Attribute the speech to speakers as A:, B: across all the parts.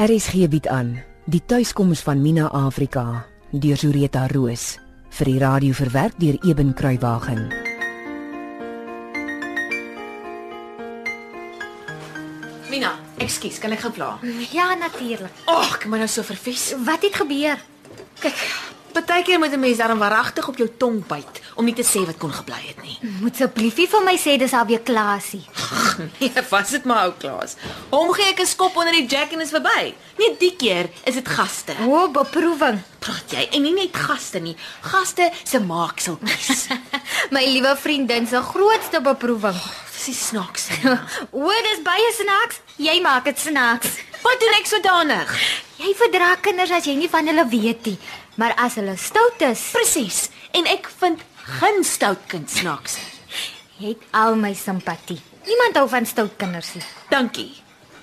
A: RSG bied aan die tuiskoms van Mina Afrika deur Zureta Roos vir die radio verwerk deur Eben Kruiwagen.
B: Mina, ekskuus, kan ek gou pla?
C: Ja, natuurlik.
B: Ag, ek moet nou so vervies.
C: Wat het gebeur?
B: Kyk, partykeer moet 'n mens daarom waaragtig op jou tong byt om nie te sê wat kon gebly het nie.
C: Moet asseblief nie vir my sê dis al weer klasie.
B: Nee, was dit maar ou Klaas. Hom gee ek 'n skop onder die jack en is verby. Nee, die keer is dit gaste.
C: O, beproewing.
B: Praat jy? En nie net gaste nie. Gaste se maakseltjies.
C: My liewe vriendin se grootste beproewing.
B: Dis die snaaks. Mina.
C: O, dis baie snaaks. Jy maak dit snaaks.
B: Wat doen ek sodanig?
C: Jy verdra kinders as jy nie van hulle weet nie. Maar as hulle stout is,
B: Presies. En ek vind geen stout kind snaaks.
C: het al my simpatie. Niemand hou van stout kinders nie.
B: Dankie.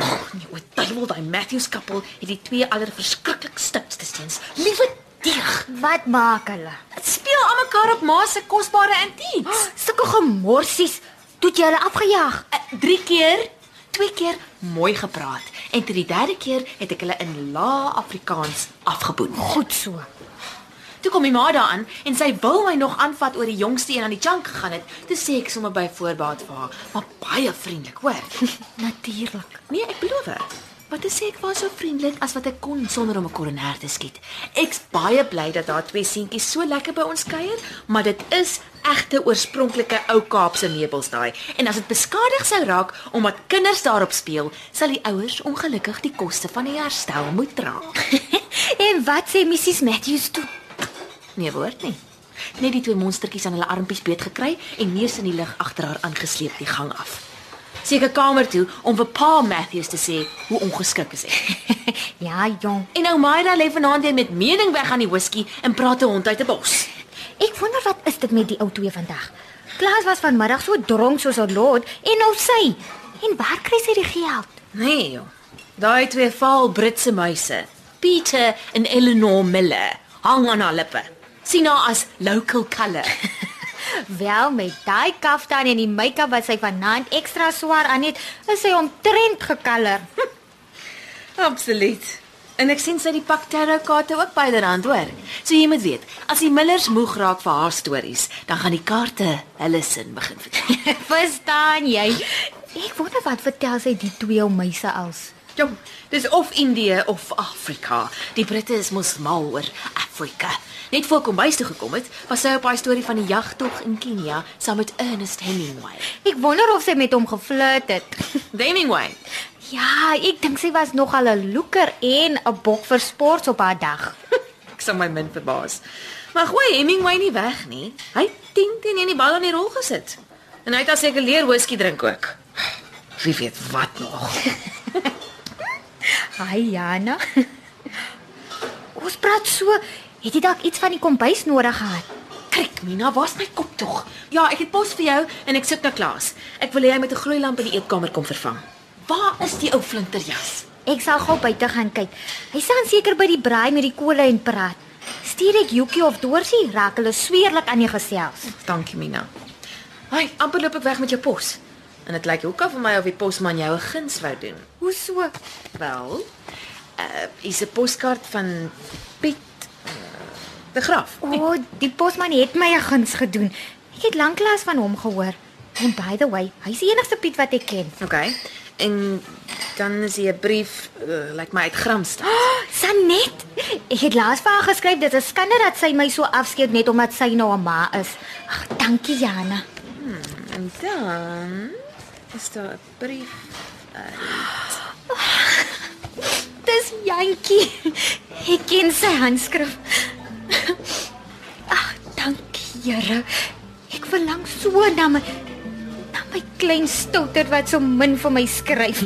B: Oh, nee, o, duiwel, daai Matthews koppel het die twee allerverskriklikste steens. Liewe dieg.
C: Wat maak hulle?
B: Dit speel aan mekaar op ma se kosbare antiques.
C: Sulke gemorsies. Toe het jy hulle afgejaag.
B: Eh, Drie keer, twee keer mooi gepraat en tot die derde keer het ek hulle in lae Afrikaans afgeboen.
C: Goed so.
B: Toe kom die ma daaraan en sy wil my nog aanvat oor die jongste een aan die chunk gegaan het. Toe sê ek sommer by voorbaat vir haar, maar baie vriendelik, hoor.
C: Natuurlik.
B: Nee, ek beloof. Wat ek sê ek was so vriendelik as wat ek kon sonder om 'n koronair te skiet. Ek's baie bly dat haar twee seentjies so lekker by ons kuier, maar dit is egte oorspronklike ou Kaapse meubels daai. En as dit beskadig sou raak omdat kinders daarop speel, sal die ouers ongelukkig die koste van die herstel moet dra.
C: en wat sê Mrs Matthews toe?
B: Nee woord nie. Net die twee monstertjies aan hulle armpies beet gekry en neus in die lug agter haar aangesleep die gang af. Seker kamer toe om vir Pa Matthews te sê hoe ongeskik is ek.
C: ja, jong.
B: En nou Myra lê vanaand weer met mening weg aan die whisky en praat 'n hond uit 'n bos.
C: Ek wonder wat is dit met die ou twee vandag? Klaas was vanmiddag so dronk soos 'n lot en nou sy. En waar kry sy die geld?
B: Nee, joh. Daai twee vaal Britse muise, Peter en Eleanor Miller, hang aan haar lippe. Sien haar as local colour.
C: Wel, met daai kaftan en die make-up wat sy vanaand ekstra swaar aan het, is sy omtrent gekaller.
B: Absoluut. En ek sien sy die pak tarotkaarte ook byderhand hoor. So jy moet weet, as die Millers moeg raak vir haar stories, dan gaan die kaarte hulle sin begin vertel.
C: Verstaan jy? Ek wonder wat vertel sy die twee ou meise als.
B: Jong, dis of Indië of Afrika. Die Britte is mos mal oor Afrika. Net voor kom bys toe gekom het, was sy op haar storie van die jagtog in Kenia saam met Ernest Hemingway.
C: Ek wonder of sy met hom geflirt het.
B: Hemingway.
C: Ja, ek dink sy was nogal 'n loeker en 'n bok vir sports op haar dag.
B: Ek sal my min verbaas. Maar gooi Hemingway nie weg nie. Hy het 10 teen 1 die bal aan die rol gesit. En hy het al seker leer whisky drink ook. Wie weet wat nog.
C: Hi Jana. Ons praat so, het jy dalk iets van die kombuis nodig gehad?
B: Kyk, Mina, waar's my kop tog? Ja, ek het pos vir jou en ek soek na Klaas. Ek wil hê hy moet 'n gloeilamp in die eetkamer kom vervang. Waar is die ou flinterjas?
C: Ek sal gou buite gaan kyk. Hy staan seker by die braai met die kolle en praat. Stuur ek Yuki of Dorsie, raak hulle sweerlik aan die gesels.
B: Dankie, Mina. Hy, amper loop ek weg met jou pos. En dit lyk hoekom vir my of die posman jou 'n guns wou doen.
C: Hoe so?
B: Wel, uh, is 'n poskaart van Piet uh, De Graaf.
C: O, oh, die posman het my 'n guns gedoen. Ek het lanklaas van hom gehoor. En by the way, hy's die enigste Piet wat ek ken.
B: Okay. En dan is hier 'n brief, uh, lyk my uit Gramstad.
C: Sanet, ek het laas vir haar geskryf dit is 'n skande dat sy my so afskeer net omdat sy nou 'n ma is. Ag, dankie Jana.
B: En dan is daar 'n brief
C: Dis Jantjie. Ek ken sy handskrif. Ag, dankie Here. Ek verlang so na my na my klein stouter wat so min vir my skryf.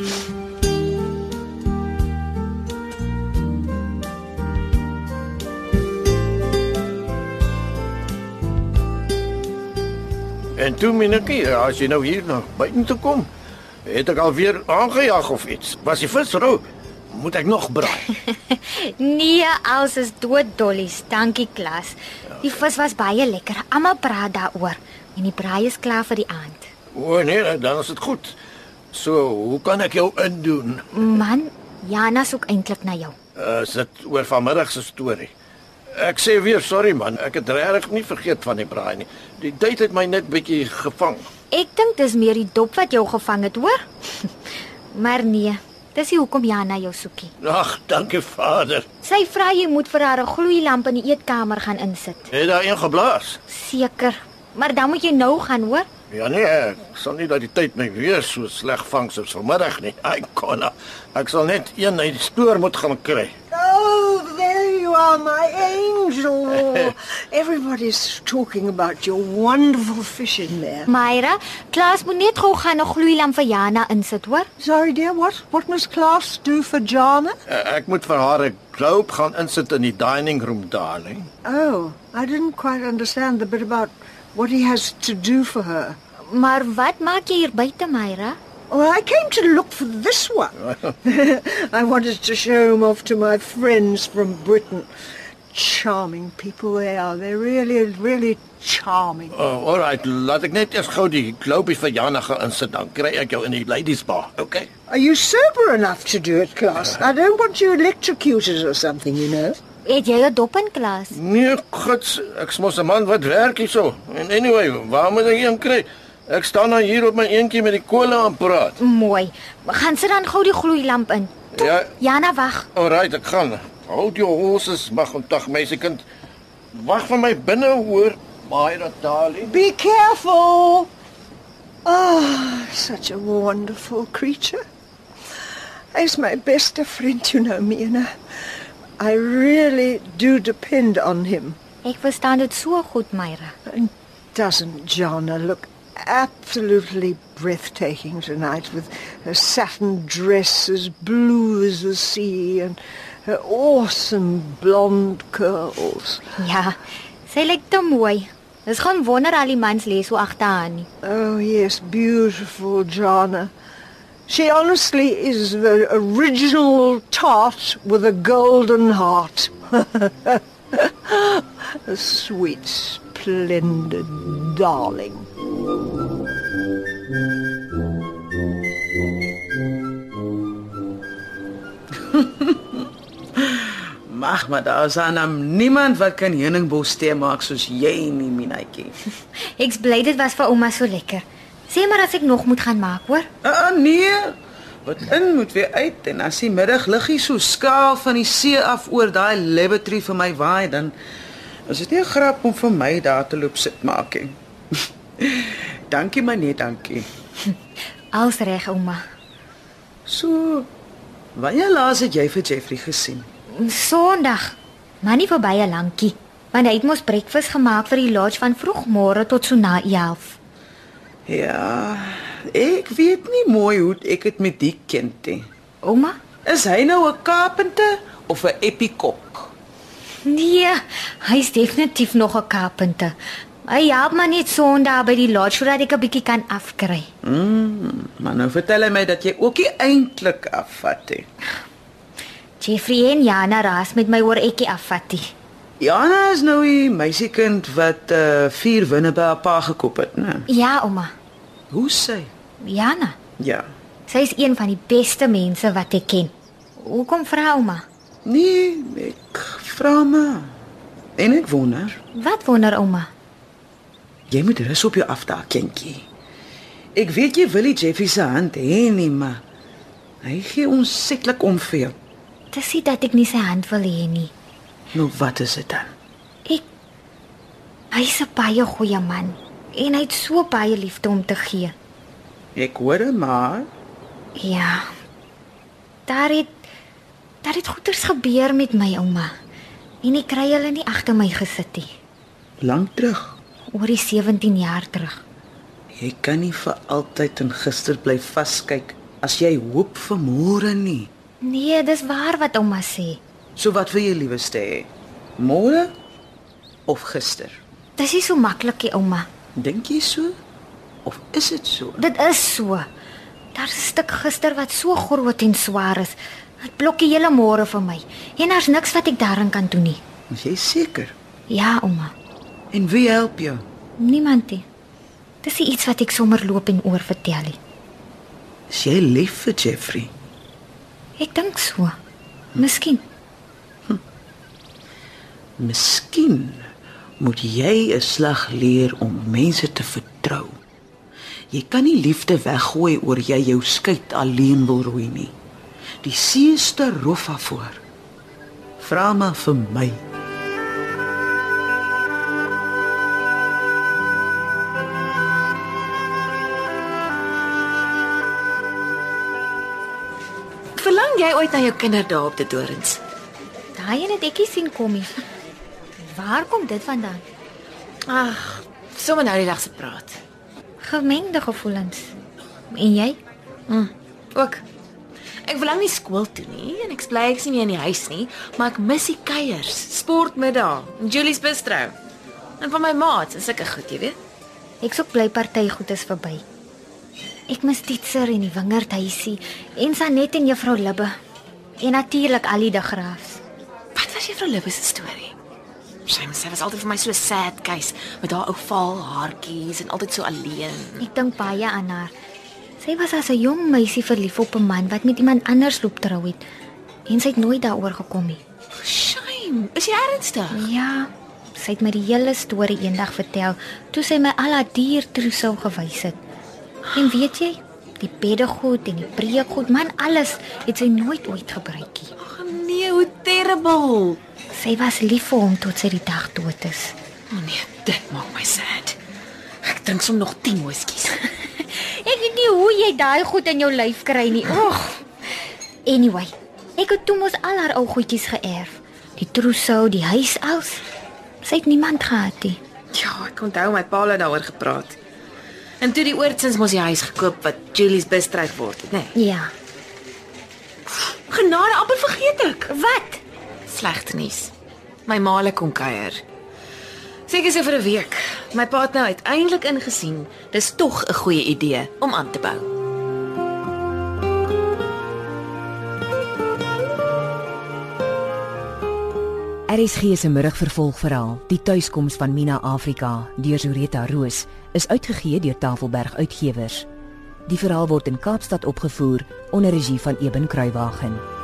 D: En toe minnetjie, ja, as jy nou hier na buite toe kom, het ek alweer aangejaag of iets. Was die vis rou? Moet ek nog braai?
C: Nee, als is dood dollies. Dankie Klas. Die vis was baie lekker. Almal praat daaroor en die braai is klaar vir die aand.
D: nee, O nee, dan is dit goed. So, hoe kan ek jou indoen? Eh,
C: Man, Jana soek eintlik na jou.
D: Is dit oor vanmiddag se storie? Ek sê weer sorry man, ek het regtig nie vergeet van die braai nie. Die tyd het my net bietjie gevang.
C: Ek dink dis meer die dop wat jou gevang het, hoor? maar nee, dis nie hoekom Jana jou soekie.
D: Ag, dankie Vader.
C: Sy vra jy moet vir haar 'n gloeilamp in die eetkamer gaan insit.
D: Het daar een geblaas?
C: Seker, maar dan moet jy nou gaan, hoor?
D: Ja nee, ek sal nie dat die tyd my weer so sleg vang soos vanmiddag nie. Ai konna. Ek sal net een uit die stoor moet gaan kry.
E: Oh, there you are, my angel. Everybody's talking about your wonderful fishing there.
C: Myra, Klaas moet net gou gaan 'n gloeilamp vir Jana insit, hoor?
E: Sorry, dear, what? What must Klaas do for Jana?
D: Eh, Ek moet vir haar 'n globe gaan insit in die dining room nee. darling.
E: Oh, I didn't quite understand the bit about what he has to do for her.
C: Maar wat maak jy hier buite, Myra?
E: Well, I came to look for this one. I wanted to show him off to my friends from Britain. Charming people they are. They're really, really charming.
D: Oh, alright, laat ek net eers gou die globie vir Jana gaan insit dan kry ek jou in die ladies bar. Okay.
E: Are you sober enough to do it, Klaas? I don't want you electrocuted or something, you know.
C: Het jy 'n dop in, Klaas?
D: Nee, guts, ek's mos 'n man wat werk hierso. En anyway, waar moet ek een kry? Ek staan nou hier op my eentjie met die kolle aan praat.
C: Mooi. Gaan sit dan gou die gloeilamp in.
D: Ja,
C: Jana wag.
D: alright, ek gaan. Hou jou horses, mag ondag meisiekind. Wag vir my binne hoor, Myra darling.
E: Be careful. Ah, such a wonderful creature. He's my best friend, you know, Mina. I really do depend on him.
C: Ek verstaan dit so goed, Myra.
E: And doesn't Jana look absolutely breathtaking tonight with her satin dress as blue as the sea and her awesome blonde curls?
C: Ja. Sy lyk te mooi. Dis gaan wonder al die mans lê so agter haar nie.
E: Oh, yes, beautiful Jana. She honestly is the original tart with a golden heart. a sweet, splendid darling.
F: Mag maar daar is aan hom niemand wat kan heuningbos tee maak soos jy nie, Minatjie.
C: Ek's bly dit was vir ouma so lekker. Sê maar as ek nog moet gaan maak, hoor?
F: Ah ah, nee. Wat in moet weer uit en as die middagliggie so skaal van die see af oor daai Liberty vir my waai, dan is dit nie 'n grap om vir my daar te loop sit maak nie. dankie maar nee, dankie.
C: Als reg, ouma.
F: So wanneer laas het jy vir Jeffrey gesien?
C: Sondag. Maar nie vir baie lankie, want hy het mos breakfast gemaak vir die lodge van vroegmôre tot so na 11.
F: Ja, ek weet nie mooi hoe ek dit met die kind het.
C: Ouma?
F: Is hy nou 'n kapenter of 'n epikok?
C: Nee, hy's definitief nog 'n kapenter. Hy help maar net Sondag by die lodge sodat ek 'n bietjie kan afkry.
F: Maar nou vertel hy my dat jy ook nie eintlik afvat nie.
C: Jeffrey en Jana raas met my oor ekkie afvatty.
F: Jana is nou die meisiekind wat uh vier winne by haar pa gekoop het, né?
C: Ja, ouma.
F: Hoe sê?
C: Jana,
F: Ja.
C: sy is een van die beste mense wat ek ken. Hoekom vra ouma?
F: Nee, ek vra my. En ek wonder,
C: Wat wonder ouma?
F: jy moet rus op jou afdaag, kindjie. Ek weet jy wil nie Jeffie se hand hê nie, maar hy gee onsetlik om vir jou.
C: Dis nie dat ek nie sy hand wil hê nie.
F: Nou wat is dit dan?
C: Ek hy's 'n baie goeie man en hy het so baie liefde om te gee.
F: Ek hoor hom maar.
C: Ja. Daar het daar het goeters gebeur met my ouma. En ek kry hulle nie agter my gesit nie.
F: Lank terug.
C: Oor die 17 jaar terug.
F: Jy kan nie vir altyd in gister bly vaskyk as jy hoop vir môre nie.
C: Nee, dis waar wat ouma sê.
F: So wat wil jy liewerste hê? Môre of gister?
C: Dis nie so maklik nie, ouma.
F: Dink jy so? Of is dit so?
C: Dit is so. Daar's 'n stuk gister wat so groot en swaar is. Dit blok die hele môre vir my. En daar's niks wat ek daarin kan doen nie.
F: Is jy seker?
C: Ja, ouma.
F: En wie help jou?
C: Niemand nie. Dis nie iets wat ek sommer loop en oor vertel nie.
F: Is jy lief vir Jeffrey?
C: Ek dink so. Miskien.
F: Miskien moet jy 'n slag leer om mense te vertrou. Jy kan nie liefde weggooi oor jy jou skeit alleen wil roei nie. Die see ste rof daarvoor. Vra maar vir my.
B: Verlang jy ooit na jou kinderdae op die dorings?
C: Daai een het ek nie sien kom nie. Waar kom dit vandaan?
B: Ag, sommer nou die dag se praat.
C: Gemengde gevoelens. En jy?
B: Ook. Ek verlang nie skool toe nie en ek is bly ek is nie meer in die huis nie, maar ek mis die kuiers, sportmiddag, Julie's Bistro. En van my maats en sulke goed, jy weet.
C: Ek sou bly party goed is verby. Ek mis Titser en die wingerdhuisie en Sanet en juffrou Libbe en natuurlik al die de graafs.
B: Wat was juffrou Lippe se storie? Sy mens sy was altyd vir my so sad case met haar ou vaal haartjies en altyd so alleen.
C: Ek dink baie aan haar. Sy was as 'n jong meisie verlief op 'n man wat met iemand anders loop trou het en sy het nooit daaroor gekom nie.
B: Oh, Shame. Is jy ernstig?
C: Ja, sy het my die hele storie eendag vertel toe sy my al haar diertroesel gewys het. En weet jy, die beddegoed en die preekgoed, man, alles het sy nooit ooit gebruik nie.
B: Ag nee, hoe terrible.
C: Sy was lief vir hom tot sy die dag dood is.
B: O nee, dit maak my sad. Ek drink som nog 10 whiskies.
C: Ek weet nie hoe jy daai goed in jou lyf kry nie. Oeg. Anyway, ek het toe mos al haar ou goedjies geërf. Die trousseau, die huis als. Sy het niemand gehad nie.
B: ja, ek onthou my pa het daaroor gepraat. En toe die oortsins mos die huis gekoop wat Julie's bestryk word, nê? Nee.
C: Ja.
B: Genade, amper vergeet ek.
C: Wat?
B: Slegte nuus. My maale kom kuier. Seker so er vir 'n week. My pa het nou uiteindelik ingesien dis tog 'n goeie idee om aan te bou.
A: RSG se middagvervolgverhaal, Die tuiskoms van Mina Afrika, deur Zureta Roos, is uitgegee deur Tafelberg Uitgewers. Die verhaal word in Kaapstad opgevoer onder regie van Eben Kruiwagen.